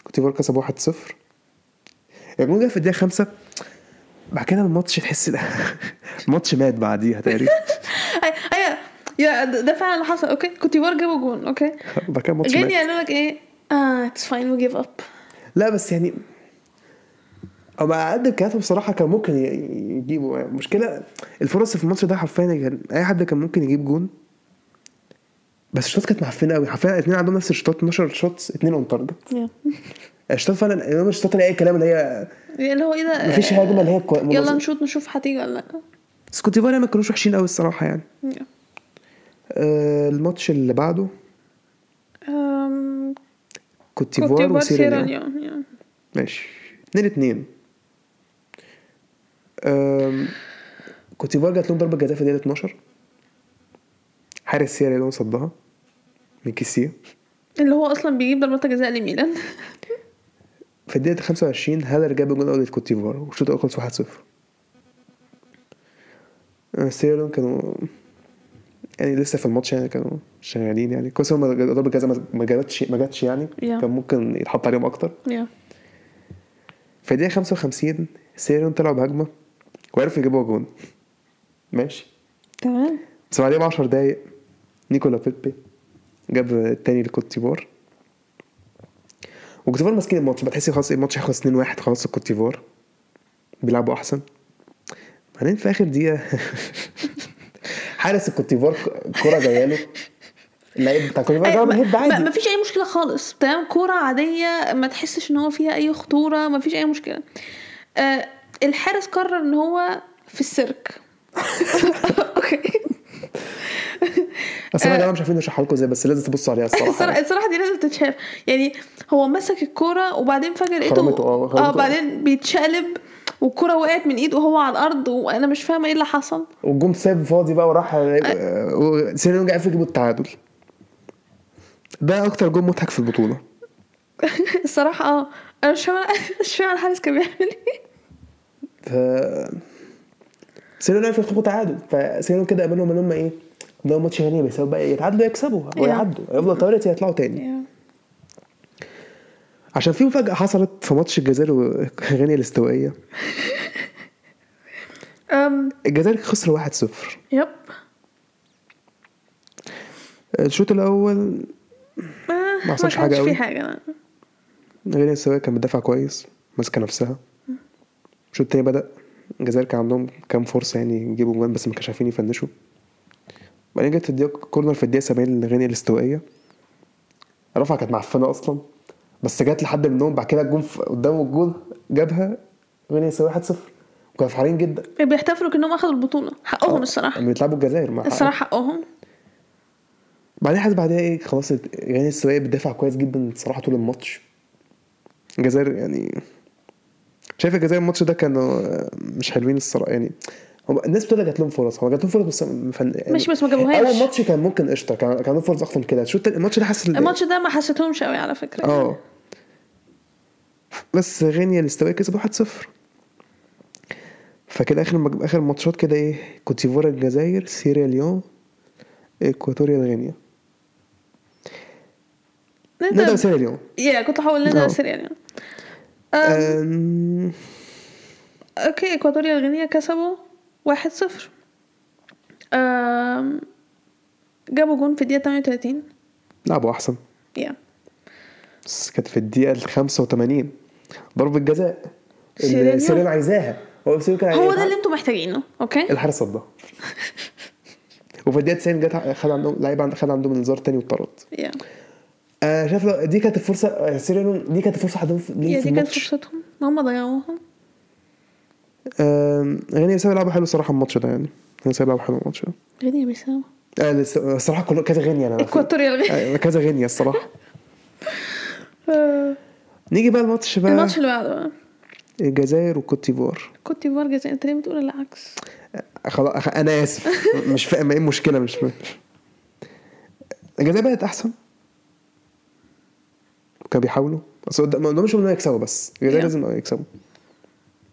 كوتيفوار كسب 1-0 الجون جه في الدقيقة 5 بعد كده الماتش تحس لا الماتش مات بعديها تقريبا أي- ايوه يا ده ده فعلا اللي حصل اوكي كنت بار جابوا جون اوكي بعد كده الماتش جاني مات قالوا لك ايه اه اتس فاين وي جيف اب لا بس يعني أو على قد امكانياتهم بصراحة كان ممكن ي- يجيبوا المشكلة الفرص في الماتش ده حرفيا كان أي حد كان ممكن يجيب جون بس الشوط كانت معفنة قوي حرفيا الاثنين عندهم نفس الشوط 12 شوت اثنين اون تارجت الشوط فعلا الشوط اللي هي كلام اللي هي اللي هو ايه ده مفيش هجمه اللي هي كوي- يلا منظمة. نشوط نشوف هتيجي ولا لا بس كوتيفوار ما كانوش وحشين قوي الصراحه يعني يا. آه الماتش اللي بعده أم، كوتيفوار وسيراليون سيراليون يا. ماشي اتنين اتنين آم، كوتيفوار جات لهم ضربه جزاء في الدقيقه 12 حارس سيراليون صدها من كيسيه اللي هو اصلا بيجيب ضربات جزاء لميلان في الدقيقه 25 هالر جاب الجول الاول لكوتيفوار والشوط الاول خلص 1-0 آه، سيراليون كانوا يعني لسه في الماتش يعني كانوا شغالين يعني كويس هم ضربه جزاء ما- ما جابتش ما جاتش يعني يا. كان ممكن يتحط عليهم اكتر يا. في الدقيقة 55 سيريون طلعوا بهجمة وعرفوا يجيبوا جون ماشي تمام بس بعديها ب 10 دقايق نيكولا بيبي جاب التاني لكوت ديفوار وكوتيفوار ماسكين الماتش بتحسي خلاص إيه، الماتش هيخلص 2-1 خلاص الكوت ديفوار بيلعبوا احسن بعدين في اخر دقيقة حارس الكوت ديفوار كورة جاية له اللعيب بتاع كوت ديفوار أي- جاب ما الهيد ما- عادي مفيش اي مشكله خالص تمام كوره عاديه ما تحسش ان هو فيها اي خطوره مفيش اي مشكله آه الحارس قرر ان هو في السيرك اوكي بس انا يا جماعة مش عارفين نشرحها لكم ازاي بس لازم تبصوا عليها الصراحة الصراحه الصراحه دي لازم تتشاف يعني هو مسك الكوره وبعدين فجاه لقيته خرمته، آه، خرمته. اه بعدين بيتشقلب والكرة وقعت من ايده وهو على الارض وانا مش فاهمه ايه اللي حصل والجون ساب فاضي بقى وراح سيريون جاي يجيبوا التعادل ده اكتر جون مضحك في البطوله الصراحه اه انا مش فاهمه مش فاهمه الحارس كان بيعمل ايه ف سيريون عرف يخطفوا تعادل فسيريون كده قابلهم ان هم ايه ده ماتش غني بس بقى يتعادلوا يكسبوا او Yeah. يعدوا يفضلوا طوالي يطلعوا تاني عشان في مفاجاه حصلت في ماتش الجزائر وغينيا الاستوائيه أم، الجزائر خسر 1-0 يب الشوط الاول آه، ما حصلش حاجة كانش أوي. في حاجه لا. غينيا الاستوائيه كانت بتدافع كويس ماسكه نفسها الشوط التاني بدأ الجزائر كان عندهم كام فرصة يعني يجيبوا جوان بس ما كانوش عارفين يفنشوا بعدين جت الدقيقة كورنر في الدقيقة 70 لغينيا الاستوائية رفعة كانت معفنة أصلا بس جت لحد منهم بعد كده الجون في- قدامه الجون جابها غينيا الاستوائية 1-0 وكانوا فرحانين جدا بيحتفلوا كانهم اخدوا البطوله حقهم آه، إيه. الصراحه لما بيلعبوا الجزائر مع الصراحه حقهم بعدين حاسس بعدها ايه خلاص غينيا السواقي بتدافع كويس جدا الصراحه طول الماتش الجزائر يعني شايف الجزائر الماتش ده كانوا مش حلوين الصراحه يعني هم الناس بتقول لك جات لهم فرص هو جات لهم فرص بس ما فن... يعني مش- بس ما جابوهاش. اول ماتش كان ممكن قشطه كان كان عندهم فرص اكتر من كده الشوط التاني- الماتش ده حاسس إن- الماتش ده ما حسيتهمش قوي على فكره اه بس غينيا الاستواء كسب 1-0 فكده اخر مج... اخر ماتشات كده ايه كوت ديفوار الجزائر سيراليون اكواتوريا غينيا نقدر نقدر سيراليون يا كنت هقول نقدر آه. سريع يعني أم، اوكي اكوادوريا الغينيا كسبوا واحد صفر آم، جابوا جون في الدقيقة 38 لعبوا احسن يا بس كانت في الدقيقه ال 85 ضربه جزاء سيراليون. اللي سيراليون عايزاها هو سيراليون كان هو عايز- ده اللي انتوا محتاجينه اوكي الحارس صدها وفي الدقيقه 90 جت ع- خد عندهم لعيب عند- خد عندهم انذار تاني واتطرد يا انا شايف لو- دي كانت الفرصه آه، سيراليون دي كانت الفرصه عندهم في ليهم يا في دي كانت الماتش فرصتهم ان هم ضيعوها أم، غينيا سابع أه، لعبه حلو صراحه الماتش ده يعني غينيا سابع لعبه حلو الماتش ده غينيا بيساوي آه، لس- الصراحه كله كذا غينيا انا اكواتوريا الغينيا آه، كذا غينيا الصراحه آه، نيجي بقى الماتش بقى الماتش اللي بعده بقى. الجزائر وكوت ديفوار كوت ديفوار جزائر انت ليه بتقول العكس؟ خلاص انا اسف مش فاهم ايه المشكله مش فاهم الجزائر بقت احسن كانوا بيحاولوا بس قدام- ما قدامهمش ان هم يكسبوا بس الجزائر Yeah. لازم يكسبوا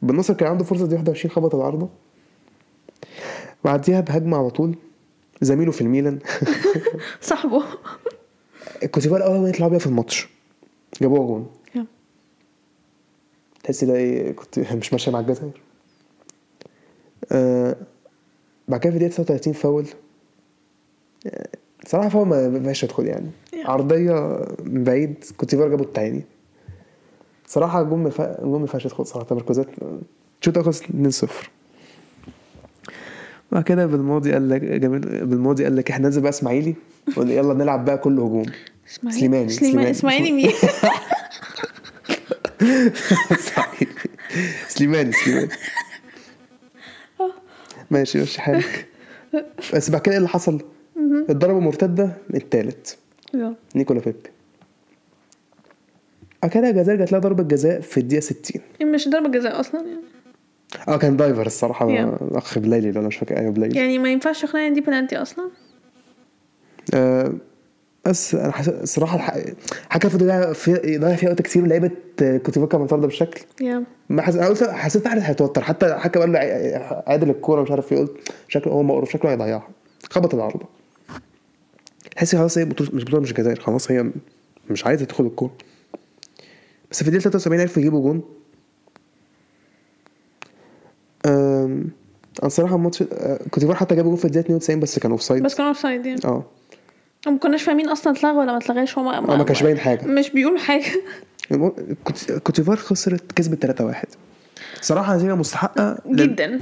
بالنصر كان عنده فرصه دي 21 خبط العارضه بعديها بهجمه على طول زميله في الميلان صاحبه الكوتيفار اول ما يطلعوا بيها في الماتش جابوها جون يا. تحس ده ايه كنت مش ماشيه مع الجزائر آه بعد كده في دقيقه 39 فاول آه، صراحه فاول ما ما فيهاش تدخل يعني Yeah. عرضيه من بعيد كنت فار جابوا التاني صراحه جون ما فا- جون ما ينفعش يدخل صراحه تمركزات شوط اخلص 2 0 بعد كده بالماضي قال لك جميل بالماضي قال لك احنا ننزل بقى اسماعيلي قلنا يلا نلعب بقى كله هجوم اسماعيل سليماني، سليماني سليماني. اسماعيلي مين؟ اسماعيلي سليماني سليماني ماشي ماشي حالك بس بعد كده ايه اللي حصل؟ اتضربوا مرتده التالت يا. نيكولا بيبي بعد كده الجزائر جات لها ضربه جزاء في الدقيقه 60 مش ضربة جزاء اصلا يعني اه كان دايفر الصراحه يا. الاخ بليلي اللي انا مش فاكر ايوه بليلي يعني ما ينفعش اقنعني إن دي بنالتي اصلا آه بس انا حس... الصراحه الح... حكى فضل يضيع في- يضيع فيها وقت كتير ولعيبه آه، كوتيفار كانت مطارده بشكل يا ما حس... انا قلت حسيت احمد هيتوتر حتى حكى قال له عا- عادل الكوره مش عارف ايه قلت شكله هو مقرف شكله هيضيعها خبط العارضه تحس خلاص هي بطوله مش بطوله مش الجزائر خلاص هي مش عايزه تدخل الكوره بس في الدقيقه 73 عرفوا يجيبوا جون أم... انا صراحه الماتش أه، كوتيفوار حتى جابوا جون في الدقيقه 92 بس كان اوف سايد بس كانوا اوف سايد يعني اه وما كناش فاهمين اصلا اتلغى ولا ما اتلغاش هو ما, آه، ما كانش باين حاجة. مش بيقول حاجه الم- كوت- كوتيفوار خسرت كسبت 3-1 صراحه نتيجه مستحقه لأن- جدا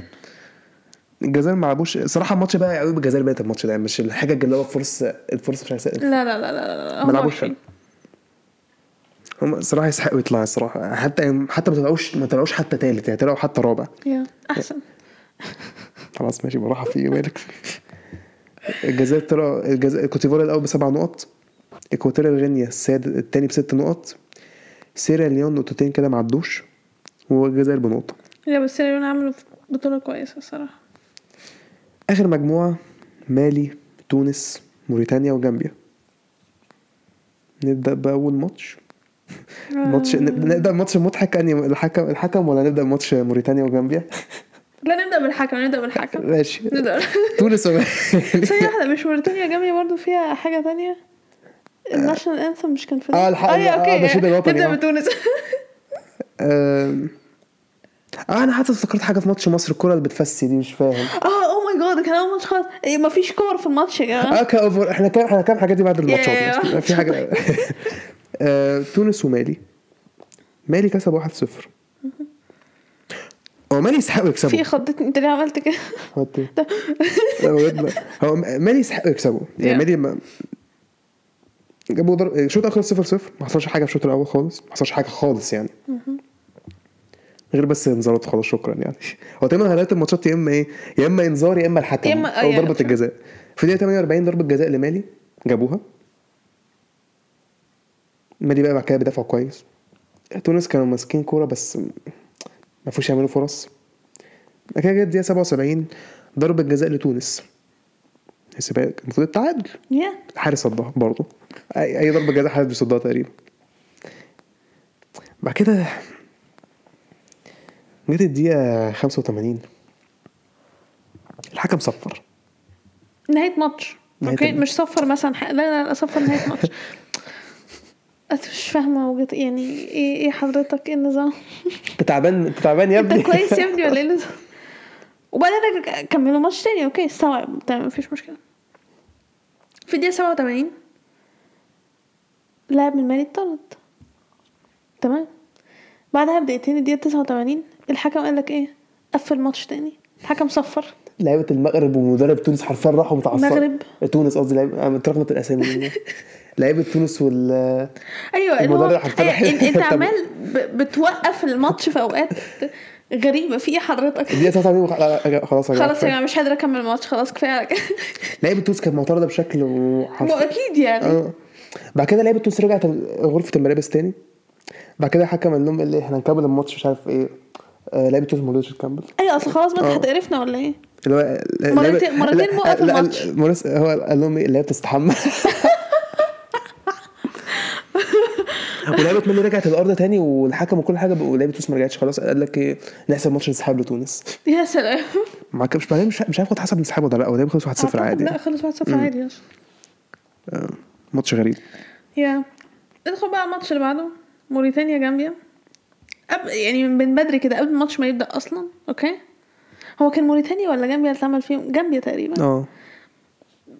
الجزائر ما لعبوش صراحه الماتش بقى قوي بالجزائر بقت الماتش ده يعني مش الحاجه اللي هو فرصه الفرصه مش هيسقف لا لا لا لا لا ما لعبوش حلو هم صراحه يستحقوا يطلعوا الصراحه حتى حتى ما طلعوش ما طلعوش حتى ثالث يعني طلعوا حتى رابع يا احسن خلاص ماشي بالراحه في إيه مالك الجزائر طلع الجزائر كوتيفوار الاول بسبع نقط اكواتوريا الغينيا السادس الثاني بست نقط سيراليون نقطتين كده ما عدوش والجزائر بنقطه لا بس سيريون عملوا بطوله كويسه الصراحه اخر مجموعه مالي تونس موريتانيا وجامبيا نبدا باول ماتش آه. ماتش نب- نبدا ماتش مضحك يعني الحكم الحكم ولا نبدا ماتش موريتانيا وجامبيا لا نبدا بالحكم نبدا بالحكم ماشي نبدا تونس وما- ثانيه واحده مش موريتانيا جامية برضو فيها حاجه تانية الناشونال انثم مش كان في آه، الحق- يا، آه، اوكي النشيد الوطني، نبدا آه. بتونس آم، اه انا آه، حتى افتكرت حاجه في ماتش مصر الكره اللي بتفسي دي مش فاهم اه او ماي جاد كان اول ماتش خالص إيه، مفيش كور في الماتش يا جماعه اه كاوفر احنا كام احنا كام حاجات دي بعد الماتشات ياه. في حاجه آه، تونس ومالي مالي كسب 1-0 هو مالي يستحقوا يكسبوا في خضتني انت ليه عملت كده هات ايه؟ لا بجد لا. هو مالي يستحقوا يكسبوا يعني Yeah. مالي ما جابوا ضرب الشوط الاول خلص 0 0 ما حصلش حاجه في الشوط الاول خالص ما حصلش حاجه خالص يعني غير بس انذارات خلاص شكرا يعني هو تقريبا هيلاقي الماتشات يا اما ايه يا اما انذار يا اما الحكم يا إما- او يا- ضربه الجزاء في دقيقه 48 ضربه جزاء لمالي جابوها مالي بقى بعد كده بيدافعوا كويس تونس كانوا ماسكين كوره بس ما فيش يعملوا فرص بعد كده جت دقيقه 77 ضربه جزاء لتونس السباق المفروض التعادل يا حارس صدها برضه اي اي ضربه جزاء حارس بيصدها تقريبا بعد كده جت الدقيقة 85 الحكم صفر نهايه ماتش نهاية اوكي الماتش. مش صفر مثلا ح- لا لا لا صفر نهايه ماتش أنا مش فاهمه وجهة- يعني ايه ايه حضرتك ايه النظام انت تعبان انت تعبان يا ابني انت كويس يا ابني ولا ايه النظام وبعدين رجع- كملوا ماتش تاني اوكي استوعب تمام مفيش مشكله في الدقيقه 87 لاعب من مالي اتطرد تمام بعدها بدقيقتين الدقيقه 89 الحكم قال لك ايه قفل ماتش تاني الحكم صفر لعيبة المغرب ومدرب تونس حرفيا راحوا متعصبين المغرب. تونس قصدي لعيبة انا اترقمت الاسامي مني. لعيبة تونس وال ايوه اللي هو المدرب حرفيا أيوة، إن- انت طب- عمال ب- بتوقف الماتش في اوقات غريبه في ايه حضرتك الدقيقة 89 وخ- لا، لا، خلاص يا جماعة خلاص يا جماعه مش قادره اكمل الماتش خلاص كفايه على كده لعيبة تونس كانت معترضة بشكل ما حرفيا اكيد يعني اه بعد كده لعيبه تونس رجعت غرفه الملابس تاني بعد كده الحكم قال لهم قال لي احنا هنكمل الماتش مش عارف ايه آه، لعيبه تونس ما رضتش تكمل ايوه اصل خلاص ما آه. انت هتقرفنا ولا ايه اللي هو لا- مرتين- لعيبة- مرتين لا- وقف لا- لا- الماتش. مرس- هو قال لهم ايه اللعيبه تستحمى ولعيبه مالي رجعت الارض تاني والحكم وكل حاجه ولعيبه تونس ما رجعتش خلاص قال لك ايه نحسب ماتش انسحاب لتونس يا سلام ما كان- مش مش مش عارف اتحسب انسحاب ولا لا ولعيبه خلص 1-0 أعتقد عادي لا خلص 1-0 عادي يس. ماتش غريب يا ندخل بقى على الماتش اللي بعده موريتانيا جامبيا قبل يعني من بدري كده قبل الماتش ما يبدا اصلا اوكي هو كان موريتانيا ولا جامبيا اللي اتعمل فيهم جامبيا تقريبا اه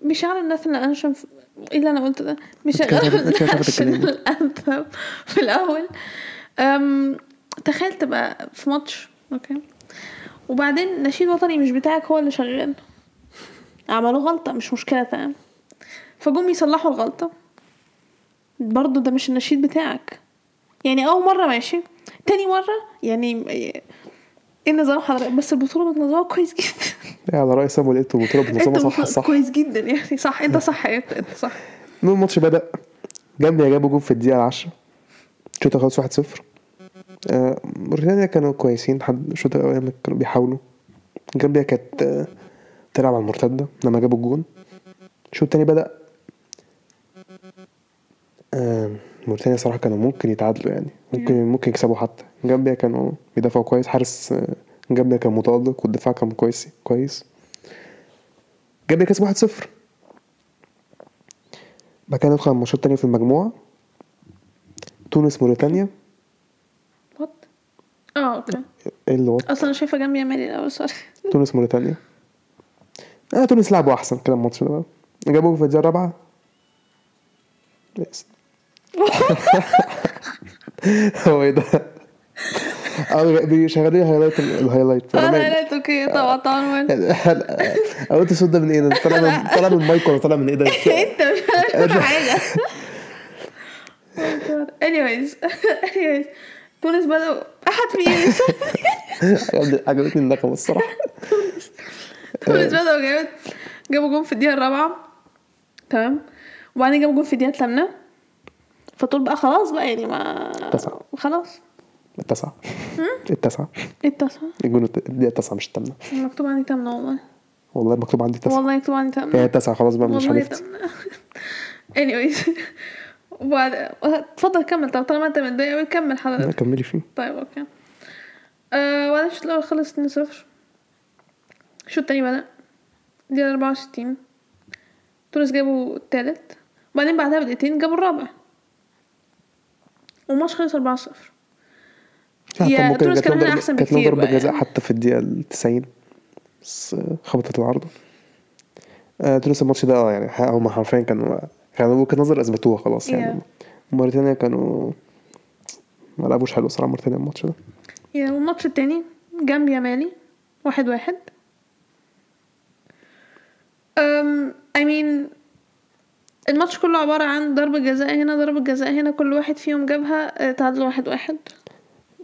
بيشغلوا الناس اللي انشم في... ايه اللي انا قلت ده كده بيشغلوا هتاخد- كده الناس هتاخد الكلام. الانثم في الاول أم... تخيل تبقى في ماتش اوكي وبعدين نشيد وطني مش بتاعك هو اللي شغال عملوا غلطه مش مشكله تمام فجم يصلحوا الغلطه برضه ده مش النشيد بتاعك يعني اول مره ماشي تاني مره يعني ايه النظام حضرتك بس البطوله بتنظمها كويس جدا يعني على راي سامويل ايتو البطوله بتنظمها صح بت- صح كويس جدا يعني صح انت صح انت انت صح المهم الماتش بدأ جامبيا جابوا جول في الدقيقة 10 الشوط خلص 1-0 آه، موريتانيا كانوا كويسين لحد الشوط الأول لما كانوا بيحاولوا جامبيا كانت آه، تلعب على المرتدة لما جابوا الجون الشوط التاني بدأ آه، موريتانيا صراحة كانوا ممكن يتعادلوا يعني ممكن ممكن يكسبوا حتى جامبيا كانوا بيدافعوا كويس حارس آه، جامبيا كان متألق والدفاع كان كويس كويس جامبيا كسب 1-0 بعد كده ندخل على الماتشات التانية في المجموعة تونس موريتانيا وات اه اوكي ايه اللي وط- اصلا انا شايفه جنبي مالي الاول سوري تونس موريتانيا اه تونس لعبوا احسن كده الماتش ده بقى جابوا في الدقيقة الرابعة بس. هو ايه ده؟ اه بيشغلوا الهايلايت الهايلايت اه أنا لا مالي. لا اوكي آه. طبعا طبعا وين؟ انا قلت الصوت ده من ايه ده؟ طالع من طالع من المايك ولا طالع من ايه ده؟ انت مش عارف ولا حاجه anyways anyways تونس بدأوا احد فيهم عجبتني النغمة الصراحة تونس بدأوا جابت جابوا جون في الدقيقة الرابعة تمام وبعدين جابوا جون في الدقيقة الثامنة فتقول بقى خلاص بقى يعني ما تسعة. خلاص التاسعة التاسعة ايه التاسعة الجون الت- الدقيقة التاسعة مش التامنة مكتوب عندي تامنة والله والله مكتوب عندي تسعة والله مكتوب عندي تامنة هي يعني تسعة خلاص بقى مش والله عرفت تمام anyways وبعد اتفضل كمل طب طالما انت متضايق قوي كمل لا حضرتك كملي فيه طيب اوكي آه وبعدين الشوط الاول خلص 2 0 الشوط التاني بدأ دقيقة 64 تونس جابوا التالت وبعدين بعدها بدقيقتين جابوا الرابع والماتش خلص 4 0 يا كان ممكن تونس جات كان لهم هنا ضربة- أحسن جات لهم بكتير ضربة بقى جزاء يعني. حتى في الدقيقة ال 90 بس آه، خبطت العارضة آه، تونس الماتش ده اه يعني ح- هما حرفيا كانوا كانوا وجهة نظر أثبتوها خلاص يعني موريتانيا كانوا ما لعبوش حلو صراحة موريتانيا الماتش ده يا والماتش التاني جنب يامالي واحد واحد أم I mean الماتش كله عبارة عن ضربة جزاء هنا ضربة جزاء هنا كل واحد فيهم جابها آه، تعادل واحد واحد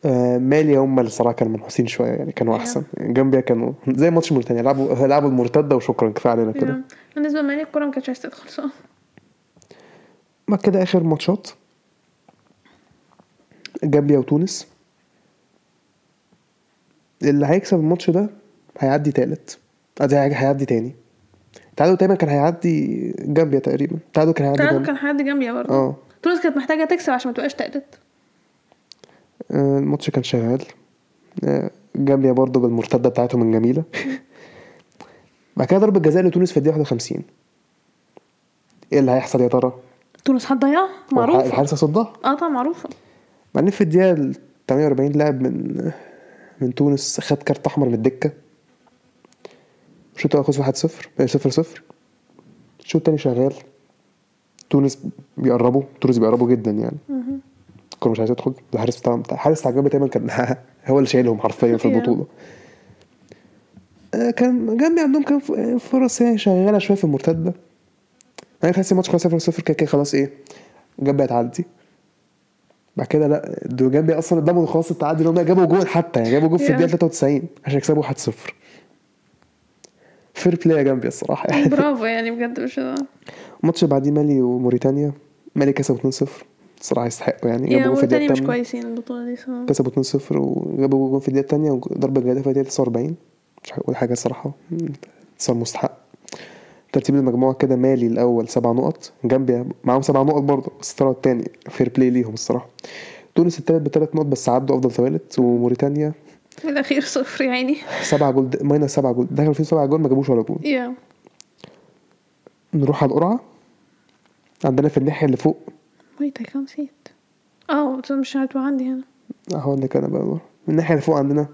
آه مالي هم اللي صراحه كانوا منحوسين شويه يعني كانوا أيوة. احسن جامبيا كانوا زي ماتش موريتانيا لعبوا لعبوا المرتده وشكرا كفايه علينا كده يعني بالنسبة لمالي الكورة مكانتش عايزة تدخل صح بعد كده اخر ماتشات جامبيا وتونس اللي هيكسب الماتش ده هيعدي تالت قصدي هي- هيعدي تاني تعادل تقريبا كان هيعدي جامبيا تقريبا تعادل كان هيعدي تعادل جامبيا كان حد جنبي برضه اه تونس كانت محتاجة تكسب عشان ما تبقاش تالت آه، الماتش كان شغال آه، جامبيا برضه بالمرتده بتاعتهم الجميله بعد كده ضربه جزاء لتونس في الدقيقه 51 ايه اللي هيحصل يا ترى؟ تونس هتضيعها الح- معروفة الحارس هيصدها اه طبعا معروفة بعدين في الدقيقة ال 48 لاعب من من تونس خد كارت أحمر من الدكة الشوط الأول خلص 1 0 0 0 آه، الشوط التاني شغال تونس بيقربوا تونس بيقربوا جدا يعني الكورة مش عايز تدخل الحارس بتاع بتاع- الحارس بتاع جنبي تقريبا كان هو اللي شايلهم حرفيا في Yeah. البطولة آه، كان جنبي عندهم كان ف- فرص يعني شغالة شوية في المرتدة يعني تحس الماتش خلاص 0 0 كده كده خلاص ايه جنبي هتعدي بعد كده لا دول جنبي اصلا قدامهم خلاص التعادل هم جابوا جول حتى يعني جابوا جول في Yeah. الدقيقه 93 عشان يكسبوا 1 0 فير بلاي يا جنبي الصراحه يعني برافو يعني بجد مش ده الماتش اللي بعديه مالي وموريتانيا مالي كسبوا 2 0 الصراحه يستحقوا يعني يعني جابوا جول في الدقيقه موريتانيا مش الثامنه كويسين البطولة دي صراحة. كسبوا 2 0 وجابوا جول في الدقيقه الثانيه وضربه جزاء في الدقيقه 49 مش هقول حاجه الصراحه صار مستحق ترتيب المجموعه كده مالي الاول سبع نقط جنبي معاهم سبع نقط برضه بس طلعوا التاني فير بلاي ليهم الصراحه تونس التالت بثلاث نقط بس عدوا افضل ثالث وموريتانيا في الأخير صفر يعني سبعة جول ماينس سبعة جول دخلوا فيه سبعة جول ما جابوش ولا جول يا نروح على القرعة عندنا في الناحية اللي فوق ويت اي كان سيت اه قلت مش هتبقى عندي هنا هقول لك انا بقى القرعة. من الناحية اللي فوق عندنا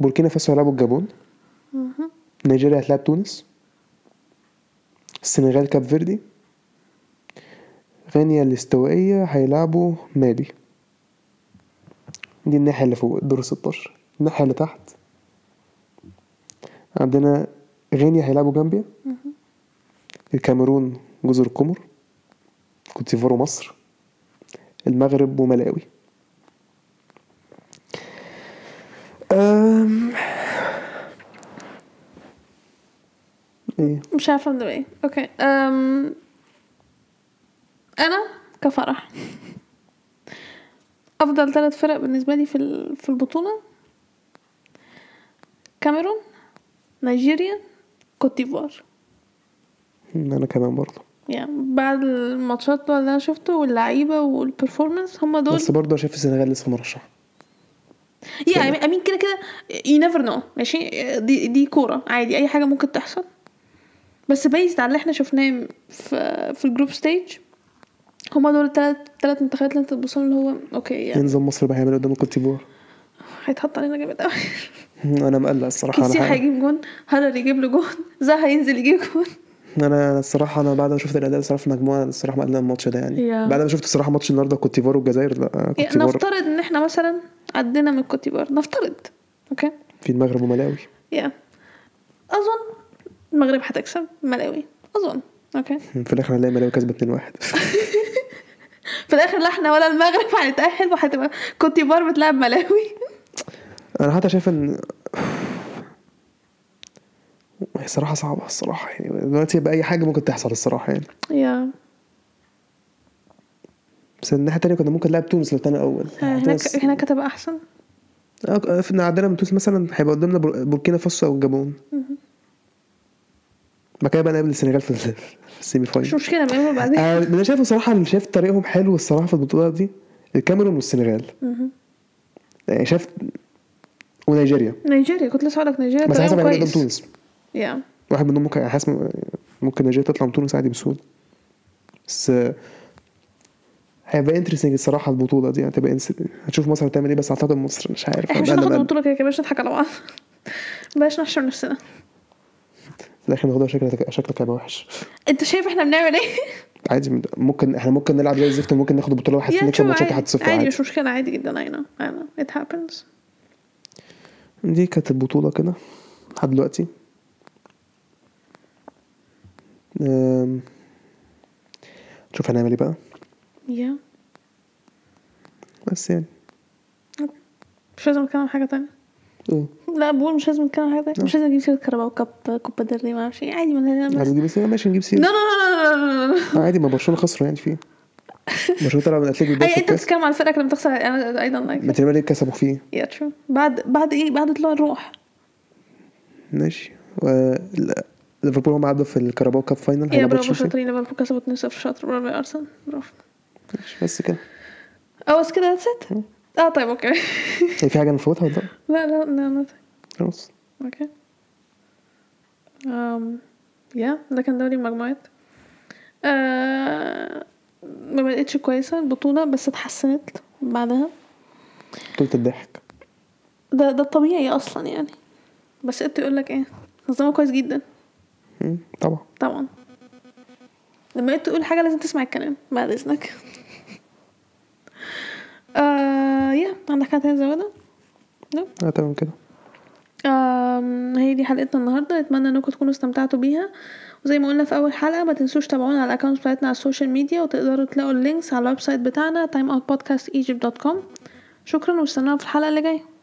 بوركينا فاسو هيلعبوا الجابون مهم. نيجيريا هتلعب تونس السنغال كاب فيردي غينيا الاستوائية هيلعبوا مالي دي الناحية اللي فوق الدور 16 الناحية اللي تحت عندنا غينيا هيلعبوا جامبيا الكاميرون جزر القمر كوت ديفوار ومصر المغرب وملاوي أم... ايه مش عارفة من ايه اوكي أم... انا um, كفرح افضل ثلاث فرق بالنسبة لي في ال- في البطولة كاميرون نيجيريا كوت ديفوار انا كمان برضه يعني بعد الماتشات بقى اللي انا شفته واللعيبة والبرفورمانس هما دول بس برضه شايف السنغال لسه مرشح يا امين كده كده يو نيفر نو ماشي دي دي كوره عادي اي حاجه ممكن تحصل بس بيزد على اللي احنا شفناه في في الجروب ستيج هما دول التلات تلات منتخبات اللي انت تبصهم اللي هو اوكي يعني ينزل مصر بقى هيعمل قدام الكوت ديفوار هيتحط علينا جامد قوي انا مقلق الصراحه كيسي انا حقيقي. هيجيب جون هالر يجيب له جون زها ينزل يجيب جون انا أنا الصراحه انا بعد ما شفت الاداء الصراحه في المجموعه أنا الصراحه مقلق من الماتش ده يعني Yeah. بعد ما شفت الصراحه ماتش النهارده كوت ديفوار والجزائر لا كوت يعني ديفوار نفترض ان احنا مثلا عدينا من كوت ديفوار نفترض اوكي في المغرب وملاوي يا اظن المغرب هتكسب ملاوي اظن اوكي في الاخر هنلاقي ملاوي كسبت 2 1 في الاخر لا احنا ولا المغرب هنتاهل وهتبقى كوت ديفوار بتلعب ملاوي انا حتى شايف ان هي صراحة صعبة الصراحة يعني دلوقتي بقى أي حاجة ممكن تحصل الصراحة يعني يا بس الناحية التانية كنا ممكن نلعب تونس لو يعني تاني أول آه، هناك هناك هتبقى احسن احنا عندنا من تونس مثلا هيبقى قدامنا بور- بوركينا فاسو أو الجابون بعد كده بقى نقابل السنغال في ال- في السيمي مش فاينل مشكله بقى بعدين آه، اللي أنا شايفه الصراحة اللي شايف طريقهم حلو الصراحة في البطولة دي الكاميرون والسنغال يعني شايف ونيجيريا نيجيريا كنت لسه هقول لك نيجيريا بس حسب طريقهم هيعملوا قدام كويس تونس يا واحد منهم ممكن حاسس ممكن نيجيريا تطلع من تونس عادي بسهوله بس آه، هيبقى انترستنج الصراحه البطوله دي هتبقى انس- هتشوف مصر هتعمل ايه بس اعتقد مصر مش عارف احنا مش أنا هناخد بقى- البطوله كده كده بلاش نضحك على بعض بلاش نحشر نفسنا في الاخر ناخدها شكلها شكلك هيبقى وحش انت شايف احنا بنعمل ايه؟ عادي من- ممكن احنا ممكن نلعب زي الزفت وممكن ناخد بطوله واحد يا نكسب شو ماتشات عادي. 1 0 عادي عادي مش مشكله عادي جدا اي نو اي نو ات هابنز دي كانت البطولة كده لحد دلوقتي أم، نشوف هنعمل ايه بقى يا بس يعني مش لازم نتكلم عن حاجه تانية ايه لا بقول مش لازم نتكلم عن حاجه نعم. تانية مش لازم نجيب سيره كهرباء وكاب كوبا دري ما اعرفش إيه. عادي ما عايز لا نجيب سيرة ماشي نجيب سيرة لا لا لا آه، عادي ما برشلونة خسروا يعني في ايه؟ برشلونة طلع من اتلتيكو بالباور اي في انت الكاس بتتكلم عن الفرقه لما تخسر انا اي دونت ما لايك تقريبا ليه كسبوا فيه يا ترو بعد بعد ايه بعد طلوع الروح ماشي و- لا، ليفربول هم عدوا في الكاراباو كاب فاينل يا هيلعبوا برافو تشيلسي شاطرين ليفربول كسبوا 2-0 شاطر برافو يا ارسنال برافو ماشي، بس كده اه بس كده ذاتس اه طيب اوكي هي يعني في حاجة أنا مفوتها ولا لأ؟ لا لا لا لا خلاص اوكي أم يا Um، ده كان دوري المجموعات آه، ما بقتش كويسة البطولة بس اتحسنت بعدها بطولة الضحك ده ده الطبيعي اصلا يعني بس انت يقول لك ايه نظامه كويس جدا مم، طبعا طبعا لما انت تقول حاجة لازم تسمع الكلام بعد اذنك آه يا عندك حاجة تانية زودها؟ لا أه تمام كده آم، هي دي حلقتنا النهارده اتمنى انكم تكونوا استمتعتوا بيها وزي ما قلنا في اول حلقه ما تنسوش تابعونا على الاكونت بتاعتنا على السوشيال ميديا وتقدروا تلاقوا اللينكس على الويب سايت بتاعنا timeoutpodcastegypt.com شكرا واستنونا في الحلقه اللي جايه